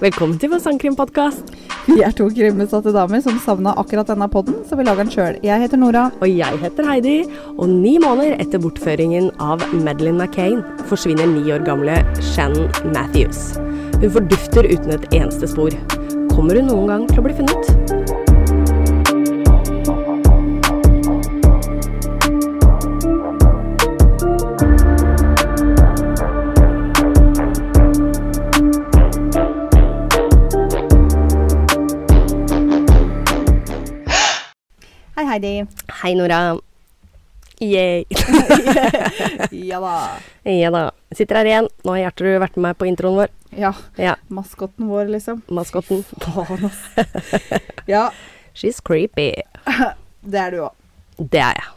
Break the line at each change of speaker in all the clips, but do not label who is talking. Velkommen til vår sangkrimpodkast.
Vi er to krimbesatte damer som savna akkurat denne podden, så vi lager den sjøl. Jeg heter Nora.
Og jeg heter Heidi. Og ni måneder etter bortføringen av Madeleine McCain forsvinner ni år gamle Shannon Matthews. Hun fordufter uten et eneste spor. Kommer hun noen gang til å bli funnet?
Hei, Heidi.
Hei, Nora. Yay.
Ja da.
ja da. Sitter her igjen. Nå har Gjertrud vært med meg på introen vår.
Ja,
Ja,
maskotten vår, liksom.
maskotten.
Faen, ass. Ja,
She's creepy.
det er du òg.
Det er jeg.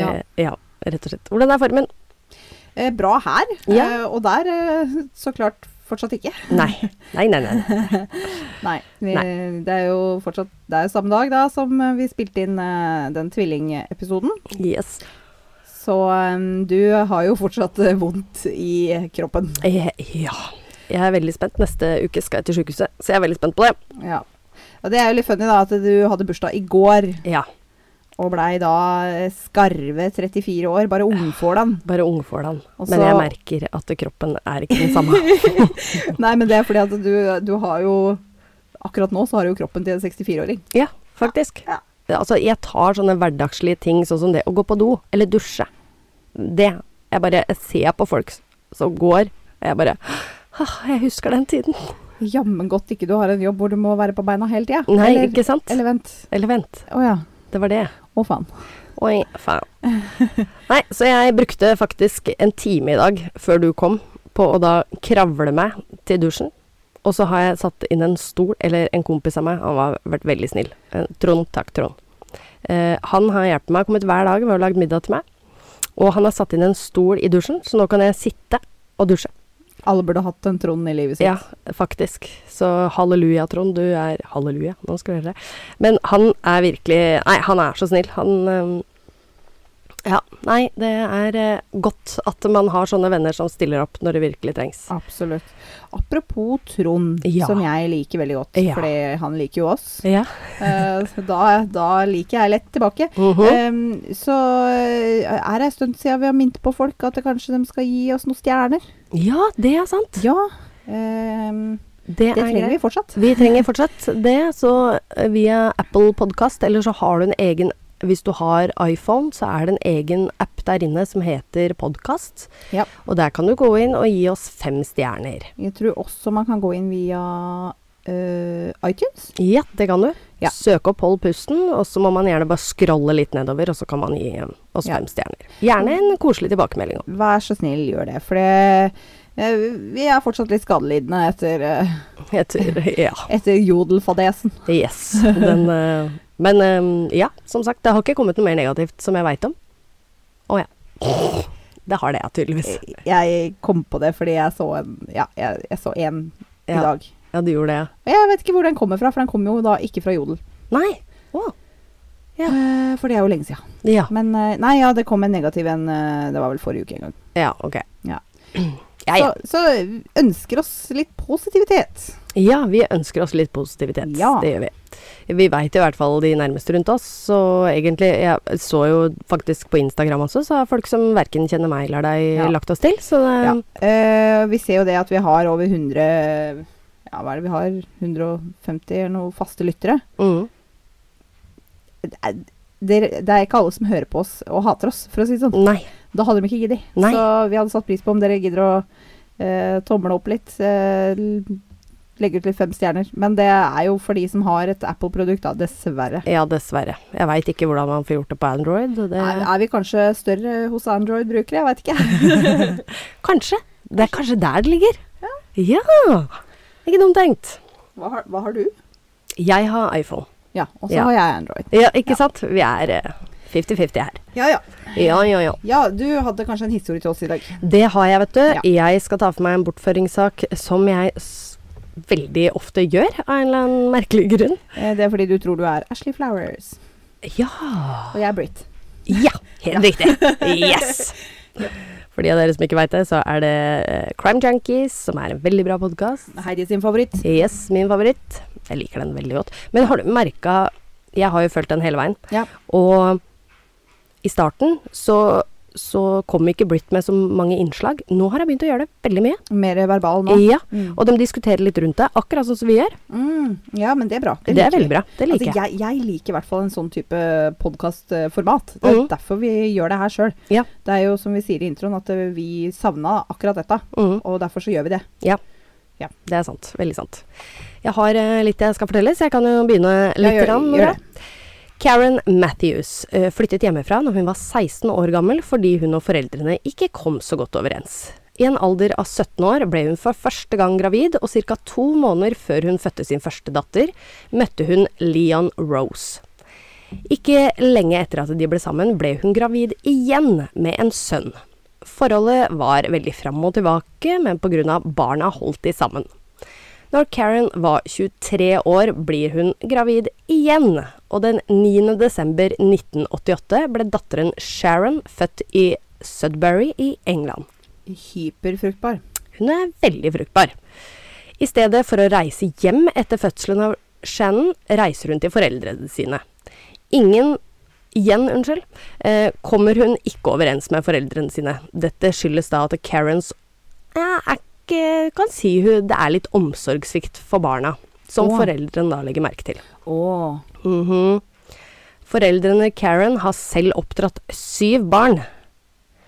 Ja.
Eh, ja, rett og slett. Hvordan er formen?
Eh, bra her,
Ja.
eh, og der eh, så klart fortsatt ikke.
Nei. Nei, nei, nei.
Nei. Vi, Det er jo fortsatt det er jo samme dag da som eh, vi spilte inn eh, den tvillingepisoden.
Yes.
Så eh, du har jo fortsatt eh, vondt i kroppen.
Eh, Ja. Jeg er veldig spent. Neste uke skal jeg til sykehuset, så jeg er veldig spent på det.
Ja. Og det er jo litt funny da at du hadde bursdag i går.
Ja.
Og blei da skarve 34 år, bare ungfålan.
Bare ungfålan.
Og
Men
så-
jeg merker at kroppen er ikke den samme.
Nei, men det er fordi at du, du har jo Akkurat nå så har du jo kroppen til en 64-åring.
Ja, faktisk.
Ja.
Altså, jeg tar sånne hverdagslige ting, sånn som det å gå på do, eller dusje. Det. Jeg bare jeg ser på folk s- som går, og jeg bare «Åh, Jeg husker den tiden.
Jammen godt ikke du har en jobb hvor du må være på beina hele tida.
Nei,
eller,
ikke sant?
eller vent.
Eller vent.
Å ja.
Det var det.
Å faen.
Oi, faen. Nei, så jeg brukte faktisk en time i dag før du kom, på å da kravle meg til dusjen. Og så har jeg satt inn en stol, eller en kompis av meg, han har vært veldig snill. Eh, Trond, takk Trond. Eh, han har hjulpet meg, kommet hver dag ved å lage middag til meg. Og han har satt inn en stol i dusjen, så nå kan jeg sitte og dusje.
Alle burde hatt en Trond i livet sitt.
Ja, faktisk. Så halleluja, Trond. Du er Halleluja, nå skal du høre. Men han er virkelig Nei, han er så snill. Han øhm, Ja. Nei, det er eh, godt at man har sånne venner som stiller opp når det virkelig trengs.
Absolutt. Apropos Trond,
Ja.
som jeg liker veldig godt,
Ja.
fordi han liker jo oss.
Ja.
Eh, så da, da liker jeg lett tilbake.
Mhm.
Eh, så eh, er det en stund siden vi har minnet på folk at det kanskje de skal gi oss noen stjerner.
ja, det er sant.
Ja, ehm,
Det,
det
er
trenger vi
greit.
fortsatt.
Vi trenger fortsatt det, så eh, via Apple Podcast, eller så har du en egen hvis du har iPhone, så er det en egen app der inne som heter Podkast.
Ja.
Og der kan du gå inn og gi oss fem stjerner.
Jeg tror også man kan gå inn via eh, iTunes.
Ja, det kan du.
Ja.
Søk opp Hold pusten, og så må man gjerne bare scrolle litt nedover, og så kan man gi eh, oss
Ja.
fem stjerner. Gjerne en koselig tilbakemelding òg.
Vær så snill, gjør det. For det, eh, vi er fortsatt litt skadelidende etter, eh,
Ja.
etter jodelfadesen.
Yes. Den, eh, men eh, ja, som sagt, det har ikke kommet noe mer negativt som jeg veit om. Å ja. Det har det, ja, tydeligvis.
Eh. Jeg kom på det fordi jeg så en, ja, jeg, jeg så en i
Ja,
dag.
ja du gjorde det, ja.
Og jeg vet ikke hvor den kommer fra, for den kommer jo da ikke fra jodel.
Nei. Å. Ja.
Eh, for det er jo lenge siden.
Ja.
Men eh, nei, ja, det kom en negativ en. eh, det var vel forrige uke en gang.
Ja, ok.
Ja.
Ja, ja.
Så, så ønsker oss litt positivitet.
Ja, vi ønsker oss litt positivitet.
Ja.
Det gjør vi. Vi veit i hvert fall de nærmeste rundt oss, så egentlig Jeg så jo faktisk på Instagram også, så har folk som verken kjenner meg eller deg,
Ja.
lagt oss til. Så det,
Ja. Eh, vi ser jo det at vi har over 100 Ja, hva er det vi har? 150 eller noe faste lyttere.
mm,
Det er, det- det er ikke alle som hører på oss og hater oss, for å si det sånn.
Nei.
Da hadde de ikke giddet.
Nei.
Så vi hadde satt pris på om dere gidder å eh, tomle opp litt. eh, l- legge ut litt fem stjerner. Men det er jo for de som har et Apple-produkt, da, dessverre.
Ja, dessverre. Jeg veit ikke hvordan man får gjort det på Android. Det,
Er, er vi kanskje større hos Android-brukere? Jeg veit ikke.
kanskje. Det er kanskje der det ligger. Ja. Ikke dumt tenkt.
Hva har, hva har du?
Jeg har iPhone.
Ja, og så
Ja.
har jeg Android.
Ja, ikke sant? Vi er eh, 50-50 her.
Ja, ja.
Ja, ja, ja.
Ja, du hadde kanskje en historie til oss i dag.
Det har jeg, vet du.
Ja.
Jeg skal ta for meg en bortføringssak som jeg s veldig ofte gjør, av en eller annen merkelig grunn.
Eh, Det er fordi du tror du er Ashley Flowers,
Ja.
og jeg er Britt.
Ja, helt riktig. Yes. For de av dere som ikke veit det, så er det eh, Crime Junkies, som er en veldig bra podkast.
Heidi sin favoritt.
Yes, min favoritt. Jeg liker den veldig godt. Men har du merka Jeg har jo fulgt den hele veien.
Ja.
Og i starten så, så kom ikke Britt med så mange innslag. Nå har jeg begynt å gjøre det veldig mye.
Mer verbal nå.
Ja,
Mm.
Og de diskuterer litt rundt det, akkurat sånn som vi gjør.
Mm. Ja, men det er bra.
Det, er
liker vi.
veldig bra. Det liker
altså, jeg. Jeg liker i hvert fall en sånn type podkastformat. Det er
Mhm.
derfor vi gjør det her sjøl.
Ja.
Det er jo som vi sier i introen, at eh, vi savna akkurat dette.
jeg. Mm.
Og derfor så gjør vi det.
Det er sant. Veldig sant. Jeg har eh, litt jeg skal fortelle, så jeg kan jo begynne litt.
gjør-
grann,
gjør
Nora.
det.
Karen Matthews eh, flyttet hjemmefra når hun var 16 år gammel fordi hun og foreldrene ikke kom så godt overens. I en alder av 17 år ble hun for første gang gravid, og ca. to måneder før hun fødte sin første datter, møtte hun Leon Rose. Ikke lenge etter at de ble sammen, ble hun gravid igjen med en sønn. Forholdet var veldig fram og tilbake, men pga. barna holdt de sammen. Når Karen var 23 år, blir hun gravid igjen, og den 9. desember 1988 ble datteren Sharon født i Sudbury i England.
Hyperfruktbar.
Hun er veldig fruktbar. I stedet for å reise hjem etter fødselen av Shannon, reiser hun til foreldrene sine. Ingen Igjen, unnskyld. Eh, kommer hun ikke overens med foreldrene sine. Dette skyldes da at Karens ja, er ikke Kan si hun det er litt omsorgssvikt for barna. Som
Åh.
foreldrene da legger merke til.
Åh.
Mhm. Foreldrene Karen har selv oppdratt syv barn.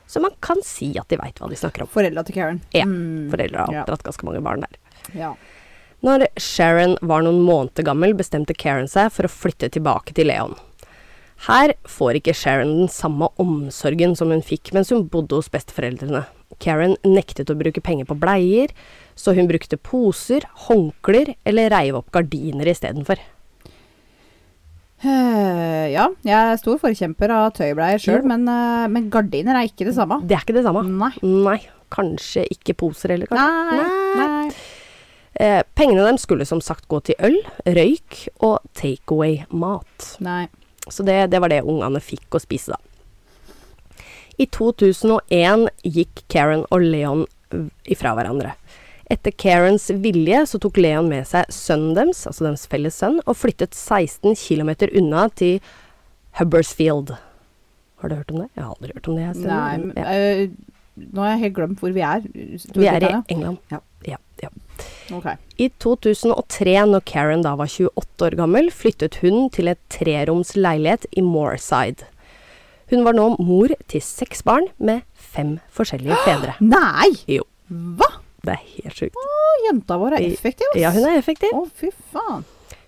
Så man kan si at de veit hva de snakker om.
Foreldra til Karen.
Ja,
Mm.
Foreldre har
Ja.
oppdratt ganske mange barn der.
Ja.
Når Sharon var noen måneder gammel, bestemte Karen seg for å flytte tilbake til Leon. Her får ikke Sharon den samme omsorgen som hun fikk mens hun bodde hos besteforeldrene. Karen nektet å bruke penger på bleier, så hun brukte poser, håndklær eller reiv opp gardiner istedenfor.
Eh, ja, jeg er stor forkjemper av tøybleier sjøl,
Jo.
men, eh, men gardiner er ikke det samme.
Det er ikke det samme.
Nei.
Nei, kanskje ikke poser heller, kanskje.
Nei. Nei.
Eh, pengene dem skulle som sagt gå til øl, røyk og takeaway-mat.
Nei.
Så det, det var det ungene fikk å spise, da. I 2001 gikk Karen og Leon eh, ifra hverandre. Etter Karens vilje så tok Leon med seg sønnen deres, altså deres felles sønn, og flyttet 16 km unna til Hubbersfield. Har du hørt om det? Jeg har aldri hørt om det. jeg, Stine.
Nei. men,
Ja.
eh, nå har jeg helt glemt hvor vi er.
Vi er i
Storbritannia.
England.
Ja.
Ja, ja.
Ok.
I 2003, når Karen da var 28 år gammel, flyttet hun til et treroms leilighet i Moorside. Hun var nå mor til seks barn med fem forskjellige fedre.
Nei!
Jo.
Hva?
Det er helt sjukt.
Å, Jenta vår er effektiv, ass.
Ja, hun er effektiv.
Å, fy faen.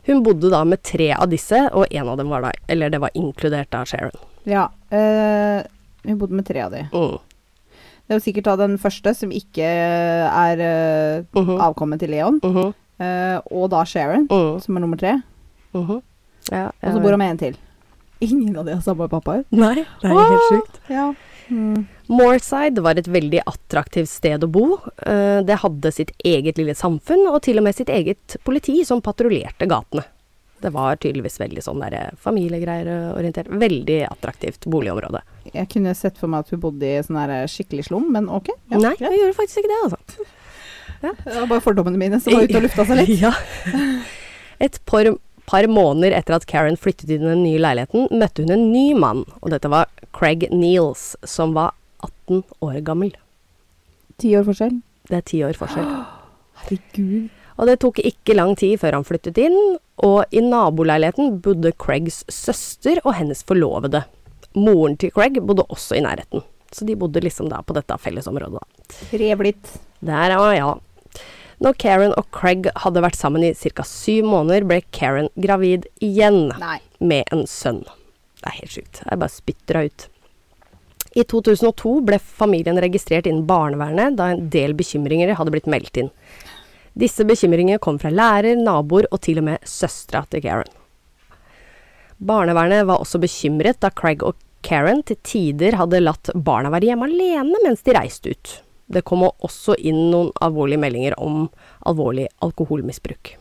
Hun bodde da med tre av disse, og en av dem var da Eller det var inkludert av Sharon.
Ja. eh, vi bodde med tre av de.
Mm.
Det er jo sikkert da den første som ikke er eh,
Mhm,
avkommet til Leon,
mhm,
eh, og da Sharon,
mm,
som er nummer tre.
mhm. Ja,
Og så
ja.
bor han med en til. Ingen av de har samme pappaer.
Nei, det er helt sjukt.
Ja. Mm.
Moorside var et veldig attraktivt sted å bo. Eh, Det hadde sitt eget lille samfunn, og til og med sitt eget politi som patruljerte gatene. Det var tydeligvis veldig sånn der familiegreier eh, orientert. Veldig attraktivt boligområde.
Jeg kunne sett for meg at hun bodde i sånn her skikkelig slum, men ok. Ja,
Nei,
greit.
jeg gjorde faktisk ikke det, altså.
Det var bare fordommene mine som var ute og lufta seg litt.
Ja. Et par, par måneder etter at Karen flyttet inn i den nye leiligheten, møtte hun en ny mann, og dette var Craig Neals, som var 18 år gammel.
Ti år forskjell.
Det er ti år forskjell.
Herregud.
Og det tok ikke lang tid før han flyttet inn, og i naboleiligheten bodde Craigs søster og hennes forlovede. Moren til Craig bodde også i nærheten, så de bodde liksom da på dette fellesområdet. da.
Trevlitt.
Der var ja. Når Karen og Craig hadde vært sammen i ca. syv måneder, ble Karen gravid igjen
Nei.
med en sønn. Det er helt sjukt. Jeg bare spytter det ut. I 2002 ble familien registrert innen barnevernet da en del bekymringer hadde blitt meldt inn. Disse bekymringene kom fra lærer, naboer og til og med søstera til Karen. Barnevernet var også bekymret da Craig og Karen til tider hadde latt barna være hjemme alene mens de reiste ut. Det kom også inn noen alvorlige meldinger om alvorlig alkoholmisbruk.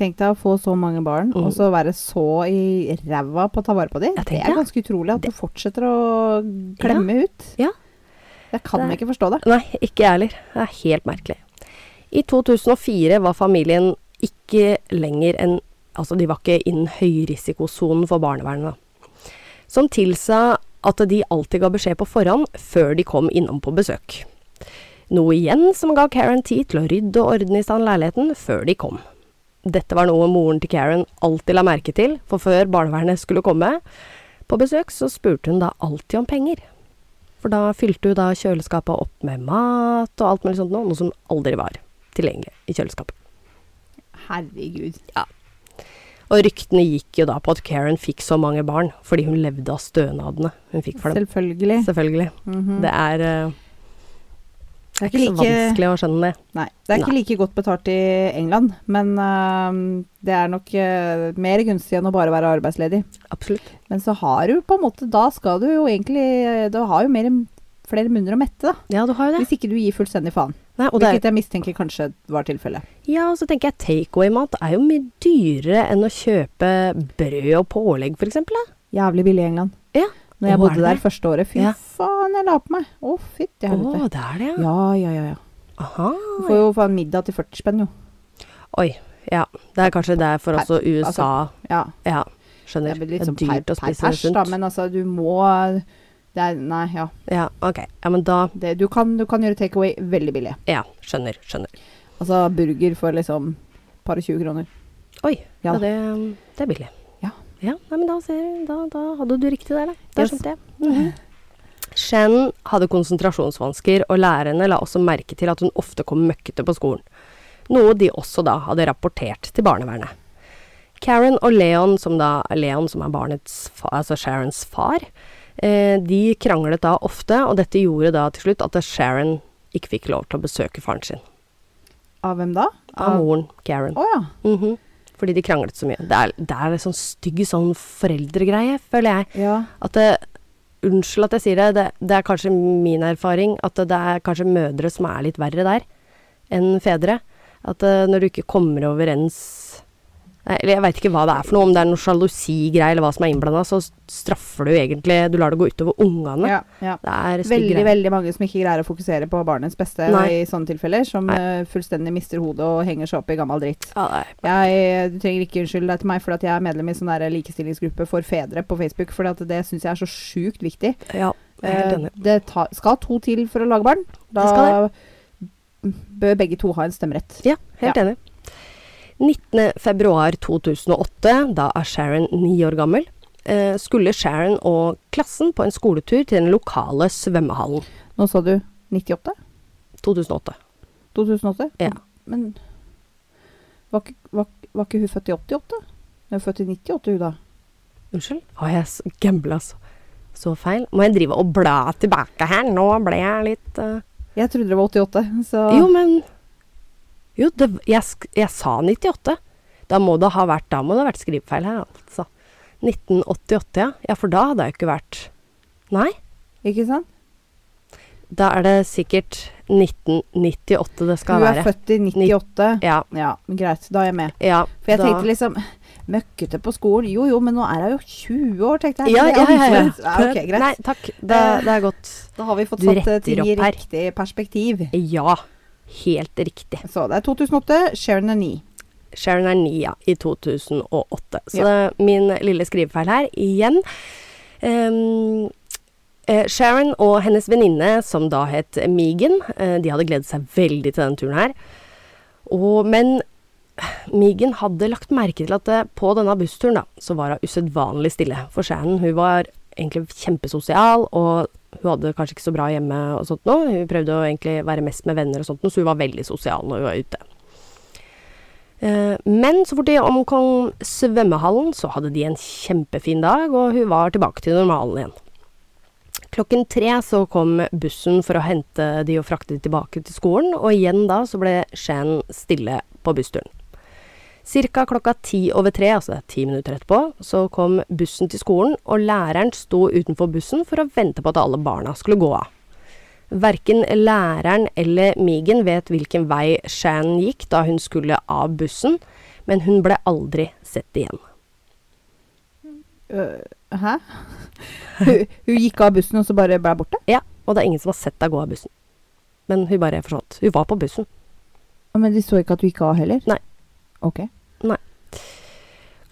Tenk deg å få så mange barn,
Mm.
og så være så i ræva på å ta vare på dem.
Ja, tenk
Det
deg.
er ganske utrolig at du fortsetter å klemme ut. Jeg kan
Nei.
ikke forstå det.
Nei, ikke jeg heller. Det er helt merkelig. I 2004 var familien ikke lenger enn Altså, de var ikke innen høyrisikosonen for barnevernet. da. Som tilsa at de alltid ga beskjed på forhånd før de kom innom på besøk. Noe igjen som ga Karen tid til å rydde og ordne i stand leiligheten før de kom. Dette var noe moren til Karen alltid la merke til, for før barnevernet skulle komme på besøk, så spurte hun da alltid om penger. For da fylte hun da kjøleskapet opp med mat og alt mulig sånt noe, noe som aldri var tilgjengelig i kjøleskapet.
Herregud.
Og ryktene gikk jo da på at Karen fikk så mange barn fordi hun levde av stønadene hun fikk for dem.
Selvfølgelig.
Selvfølgelig.
Mhm.
Det er eh,
Det er
ikke så vanskelig å skjønne det.
Nei, det er ikke like godt betalt i England, men øhm, det er nok øh, mer gunstig enn å bare være arbeidsledig.
Absolutt.
Men så har du på en måte Da skal du jo egentlig øh, Du har jo mer, flere munner å mette, da.
Ja, du har jo det.
Hvis ikke du gir fullstendig faen.
Nei, og det er,
Hvilket jeg mistenker kanskje var tilfellet.
ja, og så tenker jeg takeaway-mat er jo mye dyrere enn å kjøpe brød og pålegg, for eksempel. da.
Jævlig billig i England.
Ja.
Når jeg
Å, er
bodde
det
der
det?
første året. Fy
Ja.
faen, jeg la på meg. Å,
Å,
fytti helvete.
det er det, ja.
Ja, ja, ja. ja.
Aha.
Du får jo faen middag til 40 spenn, jo.
Oi. Ja, det er kanskje det for også USA.
Ja.
Ja,
Det
skjønner.
altså, blir
Det
litt
er
sånn per,
dyrt å
per
spise
pers, da,
sunt.
men altså, du må det er, Nei, ja.
Ja, ok. Ja, men da
Det, du, kan, du kan gjøre takeaway veldig billig.
Ja, skjønner. Skjønner.
Altså burger for liksom par og 20 kroner.
Oi, ja.
Ja.
det, det er billig.
Ja.
ja nei, men da, ser, da, da hadde du riktig der, da. Da
Yes.
skjønte jeg. Mhm. Shen hadde konsentrasjonsvansker, og lærerne la også merke til at hun ofte kom møkkete på skolen. Noe de også da hadde rapportert til barnevernet. Karen og Leon, som da Leon som er barnets fa, altså Sharons far, eh, de kranglet da ofte, og dette gjorde da til slutt at Sharon ikke fikk lov til å besøke faren sin.
Av hvem da?
Av moren, Karen.
Å ja.
Mhm. Fordi de kranglet så mye. Det er, det er en sånn stygg sånn foreldregreie, føler jeg.
ja.
At det, unnskyld at jeg sier det, det, det er kanskje min erfaring at det er kanskje mødre som er litt verre der enn fedre. At eh, når du ikke kommer overens Nei, Eller jeg veit ikke hva det er for noe, om det er noe sjalusigreie eller hva som er innblanda, så straffer du egentlig Du lar det gå utover ungene.
ja, ja.
Det er stygg
Veldig,
greie.
veldig mange som ikke greier å fokusere på barnets beste
Nei.
i sånne tilfeller. Som eh, fullstendig mister hodet og henger seg opp i gammel dritt.
Ja, det er-
Jeg, eh, du trenger ikke unnskylde deg til meg for at jeg er medlem i sånn der likestillingsgruppe for fedre på Facebook, for det syns jeg er så sjukt viktig.
ja, jeg er helt
Eh,
enig.
det ta, skal to til for å lage barn. Da
skal
bør begge to ha en stemmerett.
Ja, helt enig. 19.2.2008, da er Sharon ni år gammel, eh, skulle Sharon og klassen på en skoletur til den lokale svømmehallen.
Nå sa du 98?
2008.
2008?
Ja.
Men var ikke, var, var ikke hun født i 88? Hun er født i 98, hun da.
Unnskyld? Har jeg s- gambla så, så feil? Må jeg drive og bla tilbake her? Nå ble jeg litt eh,
Jeg trodde det var 88, så
Jo, men Jo, det, jeg, sk- jeg sa 98. Da må det ha vært, da må det ha vært skrivefeil her, altså. 1988, ja. Ja, for da hadde jeg jo ikke vært Nei.
Ikke sant?
Da er det sikkert 1998 det skal
hun er
være.
født i 98.
Ja,
Ja, men greit. Da er jeg med.
ja.
For jeg
da-
tenkte liksom Møkkete på skolen. Jo jo, men nå er hun jo 20 år, tenkte jeg.
ja, ja,
Det er
ja, ja.
annerledes. Ja, ok, greit.
Nei, takk. Det, det er godt.
Da har vi fått
Du
satt eh,
retter
ting i
opp her.
riktig perspektiv.
Ja, helt riktig.
Så det er 2008, Sharon er 9.
Sharon er nia i 2008. Så
Ja.
det er min lille skrivefeil her igjen. Ehm, eh, Sharon og hennes venninne, som da het Megan, eh, de hadde gledet seg veldig til denne turen her. Og, men Megan hadde lagt merke til at eh, på denne bussturen da, så var hun usedvanlig stille. For Sharon hun var egentlig kjempesosial, og hun hadde kanskje ikke så bra hjemme og sånt nå. Hun prøvde å egentlig være mest med venner og sånt nå, så hun var veldig sosial når hun var ute. Eh, Men så fort de omkom svømmehallen, så hadde de en kjempefin dag, og hun var tilbake til normalen igjen. Klokken tre så kom bussen for å hente de og frakte de tilbake til skolen, og igjen da så ble Shan stille på bussturen. Cirka klokka ti over tre, altså det er ti minutter etterpå, så kom bussen til skolen, og læreren sto utenfor bussen for å vente på at alle barna skulle gå av. Verken læreren eller Migen vet hvilken vei Shan gikk da hun skulle av bussen, men hun ble aldri sett igjen.
Øh, hæ? hun, hun gikk av bussen og så bare ble borte?
Ja, Og det er ingen som har sett deg gå av bussen. Men hun bare forsvant. Hun var på bussen.
Men de så ikke at du gikk av heller?
Nei.
Ok.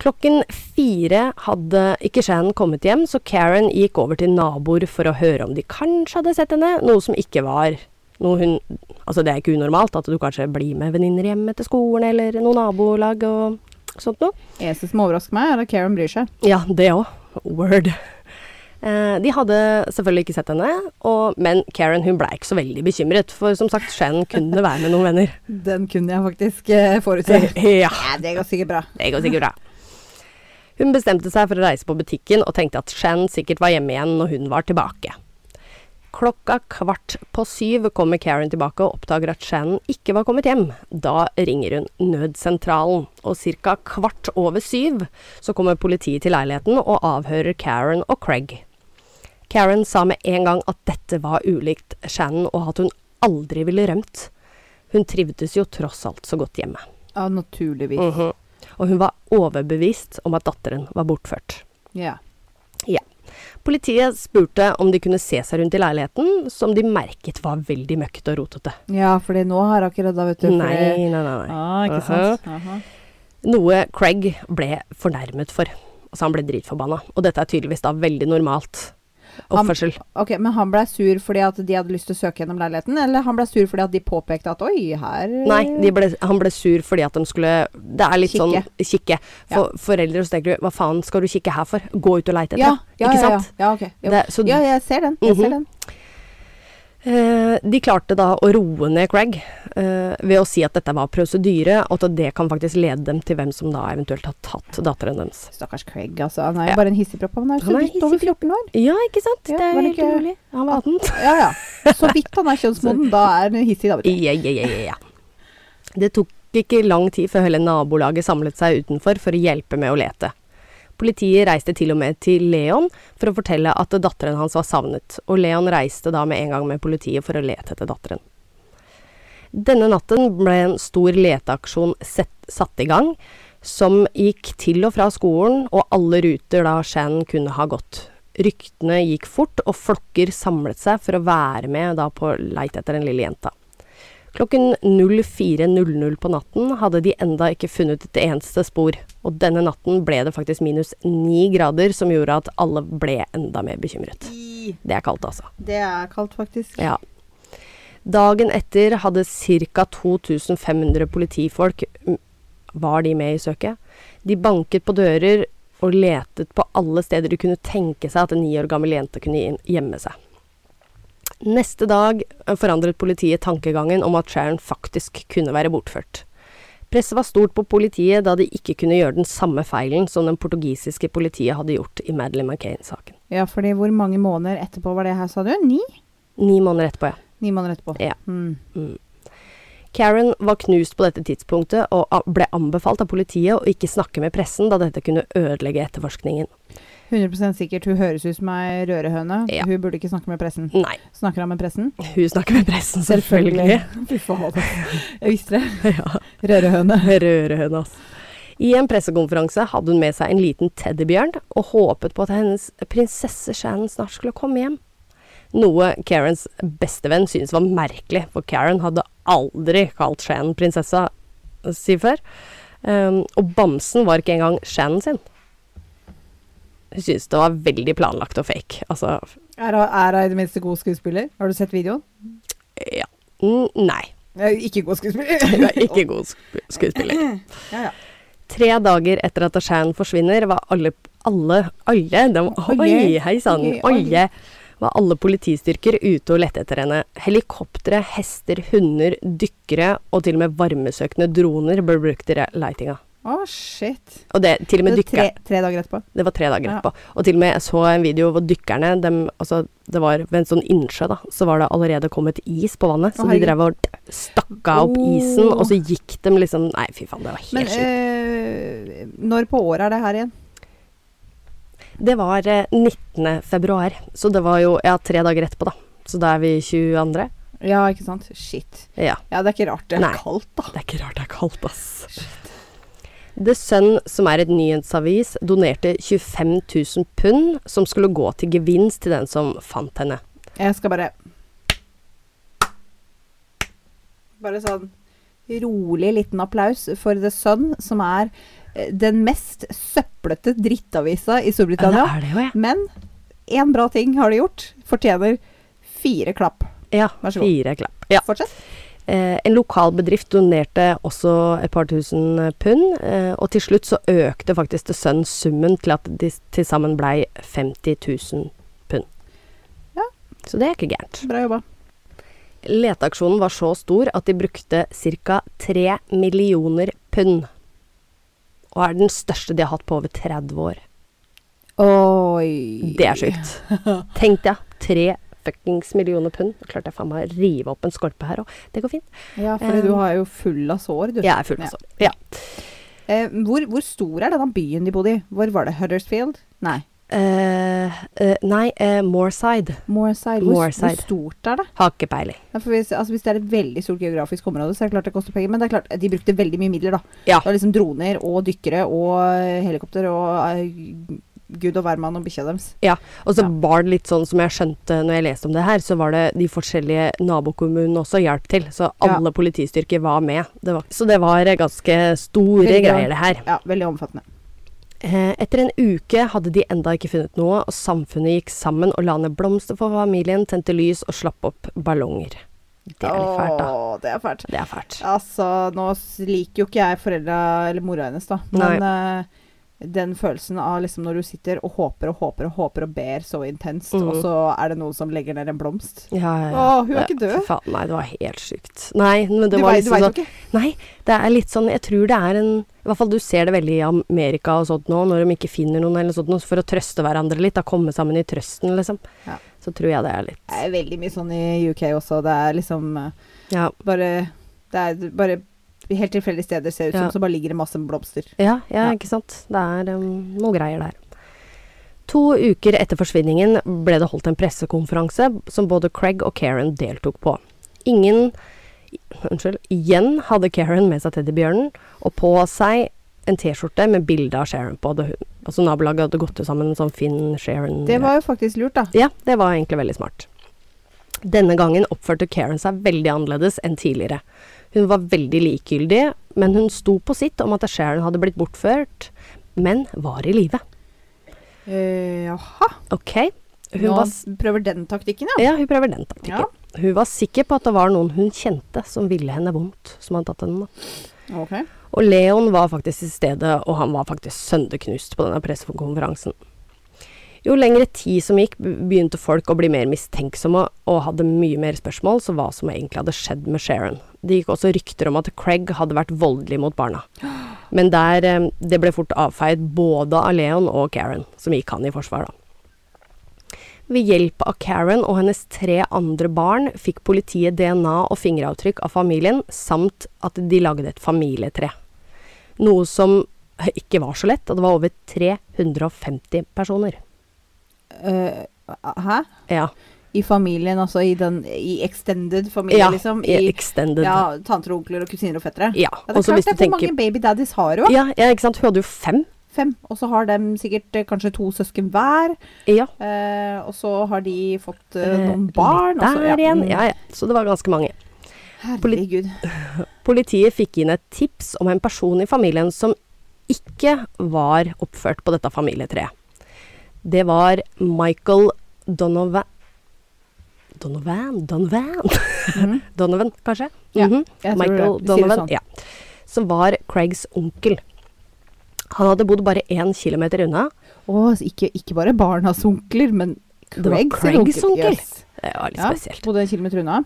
Klokken fire hadde ikke Shan kommet hjem, så Karen gikk over til naboer for å høre om de kanskje hadde sett henne, noe som ikke var noe hun Altså, det er ikke unormalt at du kanskje blir med venninner hjem etter skolen eller noe nabolag og sånt noe.
Eneste som overrasker meg, er at Karen bryr seg.
Ja, det òg. Word. Eh, de hadde selvfølgelig ikke sett henne, og, men Karen hun blei ikke så veldig bekymret, for som sagt, Shan kunne være med noen venner.
Den kunne jeg faktisk eh, forutse.
Ja.
Ja, det går sikkert bra.
Det går sikkert bra. Hun bestemte seg for å reise på butikken og tenkte at Shan sikkert var hjemme igjen når hun var tilbake. Klokka kvart på syv kommer Karen tilbake og oppdager at Shan ikke var kommet hjem. Da ringer hun nødsentralen, og ca. kvart over syv så kommer politiet til leiligheten og avhører Karen og Craig. Karen sa med en gang at dette var ulikt Shannon, og at hun aldri ville rømt. Hun trivdes jo tross alt så godt hjemme.
Ja, naturligvis.
Mhm. Og hun var overbevist om at datteren var bortført.
Ja.
Politiet spurte om de kunne se seg rundt i leiligheten, som de merket var veldig møkkete og rotete.
ja, fordi nå har jeg ikke redda, vet du. fordi-
Nei, nei, nei. Uh-huh. nei.
Ah, ikke sant. Aha.
Noe Craig ble fornærmet for. Altså, han ble dritforbanna. Og dette er tydeligvis da veldig normalt
Han-
oppførsel.
Ok, Men han blei sur fordi at de hadde lyst til å søke gjennom leiligheten, eller han blei sur fordi at de påpekte at oi, her
Nei, de ble, han ble sur fordi at de skulle Det er litt
Kikke.
sånn kikke. For foreldre så tenker du hva faen skal du kikke her for? Gå ut og leite etter.
ja, ja,
ikke
ja,
sant?
Ja, ja, ok. Jo.
Det, så
ja, jeg ser den. Jeg ser
Mhm.
den.
Eh, de klarte da å roe ned Craig eh, ved å si at dette var prosedyre, og at det kan faktisk lede dem til hvem som da eventuelt har tatt datteren deres.
Stakkars Craig, altså. Han er jo
Ja.
bare en hissigpropp. Han er jo
Han
så
er
vidt over 14 år.
Ja, ikke sant?
Ja,
det
var
er helt
det ikke-
umulig. Han var 18.
Ja, ja. Så vidt han er kjønnsmoden, da er han en hissig dame.
Ja, ja, ja, ja, ja. Det tok ikke lang tid før hele nabolaget samlet seg utenfor for å hjelpe med å lete. Politiet reiste til og med til Leon for å fortelle at datteren hans var savnet, og Leon reiste da med en gang med politiet for å lete etter datteren. Denne natten ble en stor leteaksjon sett, satt i gang, som gikk til og fra skolen og alle ruter da Shan kunne ha gått. Ryktene gikk fort, og flokker samlet seg for å være med da på leit etter den lille jenta. Klokken 04.00 på natten hadde de enda ikke funnet et eneste spor, og denne natten ble det faktisk minus ni grader, som gjorde at alle ble enda mer bekymret.
I-
Det er kaldt, altså.
Det er kaldt, faktisk.
Ja. Dagen etter hadde ca. 2500 politifolk m, Var de med i søket? De banket på dører og letet på alle steder de kunne tenke seg at en ni år gammel jente kunne inn- gjemme seg. Neste dag eh, forandret politiet tankegangen om at Sharon faktisk kunne være bortført. Presset var stort på politiet da de ikke kunne gjøre den samme feilen som den portugisiske politiet hadde gjort i Madeleine McCain-saken.
Ja, fordi hvor mange måneder etterpå var det her, sa du? Ni?
Ni måneder etterpå, ja.
Ni måneder etterpå.
Ja.
Mm.
Karen var knust på dette tidspunktet og a- ble anbefalt av politiet å ikke snakke med pressen, da dette kunne ødelegge etterforskningen.
100 sikkert. Hun høres ut som ei rørehøne.
Ja.
Hun burde ikke snakke med pressen.
Nei,
Snakker han med pressen?
hun snakker med pressen, selvfølgelig.
Fy faen. Jeg visste det.
ja,
Rørehøne.
Rørehøne, ass. I en pressekonferanse hadde hun med seg en liten teddybjørn og håpet på at hennes prinsesse Shannon snart skulle komme hjem. Noe Karens bestevenn syntes var merkelig, for Karen hadde aldri kalt Shannon prinsessa eh, si før. Um, og bamsen var ikke engang Shannon sin. Hun syntes det var veldig planlagt og fake. Altså,
Er hun- er hun i det minste god skuespiller? Har du sett videoen?
ja. Mm, Nei,
Eh, Ikke god skuespiller.
hun er ikke god sk skuespiller.
Ja, ja.
Tre dager etter at Ashan forsvinner, var alle Alle, alle de, Oi,
Alle.
hei sann!
Oi, oi.
Alle var alle politistyrker ute og lette etter henne. Helikoptre, hester, hunder, dykkere og til og med varmesøkende droner ble brukt i re- leitinga.
Å, shit.
Og det, til og med
Det er
dykkere.
tre, tre dager etterpå.
Det var tre dager
Ja.
etterpå. Og til og med jeg så en video hvor dykkerne dem, altså, Det var ved en sånn innsjø, da. Så var det allerede kommet is på vannet. Så
Å,
de
herregud.
drev og stakk av opp isen,
Oh.
og så gikk de liksom Nei, fy faen, det var
Men
helt sjukt.
eh, når på året er det her igjen?
Det var eh, 19. februar, så det var jo ja, tre dager etterpå, da. Så da er vi 22.
Ja, ikke sant? Shit.
Ja,
Ja, det er ikke rart det er
Nei.
kaldt, da.
det er ikke rart det er kaldt, ass.
Shit.
The Sun, som er et nyhetsavis, donerte 25 000 pund som skulle gå til gevinst til den som fant henne.
Jeg skal bare Bare sånn rolig liten applaus for The Sun, som er eh, den mest søplete drittavisa
Ja,
i
det
Storbritannia.
er det jo, ja.
Men én bra ting har de gjort. Fortjener fire klapp.
Ja,
Vær så god.
fire klapp. Ja.
Fortsett.
Eh, en lokal bedrift donerte også et par tusen pund, eh, og til slutt så økte faktisk The Sun summen til at de s- til sammen blei 50 000 pund.
Ja.
Så det er ikke gærent.
Bra jobba.
Leteaksjonen var så stor at de brukte ca. 3 millioner pund. Og er den største de har hatt på over 30 år.
Oi.
Det er sjukt. Tenk deg, 3 fuckings millioner pund. Klarte jeg faen meg å rive opp en skorpe her òg. Det går fint.
Ja, fordi du har jo full av sår, du.
Jeg er full av sorg. Eh. Ja.
Eh, hvor, hvor stor er denne byen de bodde i? Hvor var det? Huddersfield? Nei.
Eh, eh, nei, eh, Moorside.
Moorside. Hvor,
Moorside.
hvor stort er det?
Har ikke peiling.
Ja, for hvis, altså hvis det er et veldig stort geografisk område, så er det klart det koster penger. Men det er klart, de brukte veldig mye midler, da.
Ja.
Det var liksom droner og dykkere og eh, helikopter og eh, gud og hvermann og bikkja deres.
Og så
Ja.
var det litt sånn som jeg skjønte når jeg leste om det her, så var det de forskjellige nabokommunene også hjalp til. Så alle politistyrker var med. Det var, så det var eh, ganske store
Veldig bra.
greier, det her.
Ja, veldig omfattende.
Eh, etter en uke hadde de enda ikke funnet noe, og samfunnet gikk sammen og la ned blomster for familien, tente lys og slapp opp ballonger. Det er litt fælt, da.
Åh, det er fælt.
Det er fælt.
Altså, nå s- liker jo ikke jeg foreldra eller mora hennes, da. Men eh, den følelsen av liksom når du sitter og håper og håper og håper og ber så intenst,
Mhm.
og så er det noen som legger ned en blomst.
Ja, ja, ja.
Å, hun er ikke død.
Fy faen, nei, det var helt sjukt. Nei, men det
du
var
vei- du
liksom
veit
sånn
jo ikke.
Nei, det er litt sånn Jeg tror det er en I hvert fall du ser det veldig i Amerika og sånt nå, når de ikke finner noen eller sånt, noe, for å trøste hverandre litt. Da komme sammen i trøsten, liksom.
Ja.
Så tror jeg det er litt
Det er veldig mye sånn i UK også. Det er liksom eh,
Ja,
bare Det er bare helt tilfeldige steder ser det ut
Ja.
som, så bare ligger det masse blomster.
ja, ja,
Ja.
ikke sant. Det er um, noe greier der. To uker etter forsvinningen ble det holdt en pressekonferanse som både Craig og Karen deltok på. Ingen Unnskyld. Igjen hadde Karen med seg teddybjørnen, og på seg en T-skjorte med bilde av Sharon på. Det, hun- altså nabolaget hadde gått ut sammen, sånn Finn, Sharon
Det var jo faktisk lurt, da.
Ja, det var egentlig veldig smart. Denne gangen oppførte Karen seg veldig annerledes enn tidligere. Hun var veldig likegyldig, men hun sto på sitt om at Sharon hadde blitt bortført, men var i live.
Eh, jaha.
Ok? Hun,
Nå
var, s-
prøver den taktikken, ja.
ja, hun prøver den taktikken.
Ja.
Hun var sikker på at det var noen hun kjente som ville henne vondt, som hadde tatt henne. da.
Ok.
Og Leon var faktisk til stede, og han var faktisk sønderknust på denne pressekonferansen. Jo lengre tid som gikk, be- begynte folk å bli mer mistenksomme og hadde mye mer spørsmål så hva som egentlig hadde skjedd med Sharon. Det gikk også rykter om at Craig hadde vært voldelig mot barna. Men der, eh, det ble fort avfeid både av Leon og Karen, som gikk han i forsvar, da. Ved hjelp av Karen og hennes tre andre barn fikk politiet DNA og fingeravtrykk av familien, samt at de lagde et familietre. Noe som ikke var så lett, og det var over 350 personer.
Eh, hæ?
Ja,
I familien, altså i den I extended familie,
ja
liksom?
i
I
extended. Ja,
ja, tanter og onkler og kusiner og fettere? Ja, det
Og
er
så
klart
hvis
det
du
er hvor mange
tenker
baby daddies har hun? da?
ja, ja, ikke sant. Hun hadde jo fem.
Fem. Og så har de sikkert eh, kanskje to søsken hver.
Ja.
Eh, og så har de fått eh,
eh,
noen barn.
litt
og så-
Der igjen.
mm.
Ja, ja. Så det var ganske mange.
Herregud.
Politiet fikk inn et tips om en person i familien som ikke var oppført på dette familietreet. Det var Michael Donovan Donovan? Donovan?
Mhm.
Donovan, kanskje?
Ja,
Mhm.
jeg tror det.
Michael
Vi sier det
Donovan,
sånn.
ja. Som var Craigs onkel. Han hadde bodd bare én kilometer unna.
Å, så ikke, ikke bare barnas onkler, men
Det var
Craigs
Craigs onkel.
Yes.
Det var litt
Ja,
spesielt.
bodde en kilometer unna.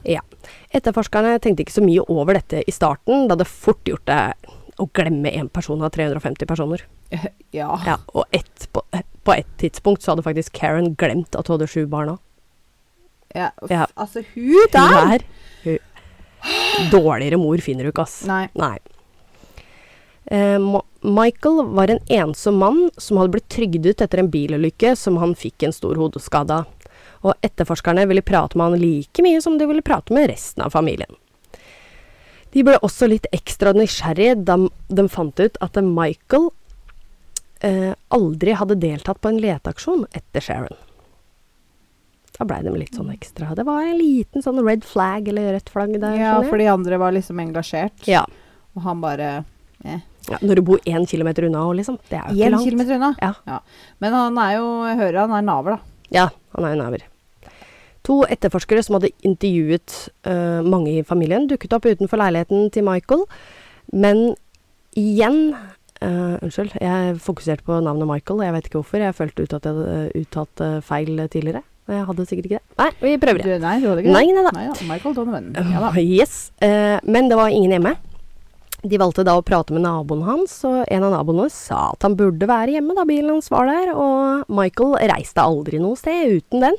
Etterforskerne tenkte ikke så mye over dette i starten, da det fort gjort det å glemme én person av 350 personer.
Ja.
Ja, og ett på, på et tidspunkt så hadde faktisk Karen glemt at hun hadde sju barn òg.
ja. uff,
Ja.
Altså, hun der!
Dårligere mor finner du ikke, ass.
Nei.
Nei. Eh, Ma- Michael var en ensom mann som hadde blitt trygdet etter en bilulykke som han fikk en stor hodeskade av. Og etterforskerne ville prate med han like mye som de ville prate med resten av familien. De ble også litt ekstra nysgjerrige da m- de fant ut at Michael eh, aldri hadde deltatt på en leteaksjon etter Sharon. Da blei de litt sånn ekstra. Det var en liten sånn red flag eller rødt flagg der.
Ja,
skjønner jeg.
for de andre var liksom engasjert,
ja.
og han bare
ja. Når du bor én kilometer unna òg, liksom. Det er jo ikke
Én
langt.
kilometer unna.
Ja.
Men han er jo Jeg hører han er naver, da.
Ja, han er en naver. To etterforskere som hadde intervjuet eh, mange i familien, dukket opp utenfor leiligheten til Michael. Men igjen eh, Unnskyld, jeg fokuserte på navnet Michael. Jeg vet ikke hvorfor. Jeg følte ut at jeg hadde eh, uttalt eh, feil tidligere. Og jeg hadde sikkert ikke det. Nei, vi prøver det.
Du, nei, du hadde ikke
Nei, nei da.
Nei da. Michael Donovan. Ja da.
Yes. eh, men det var ingen hjemme. De valgte da å prate med naboen hans, og en av naboene sa at han burde være hjemme da bilen hans var der, og Michael reiste aldri noe sted uten den.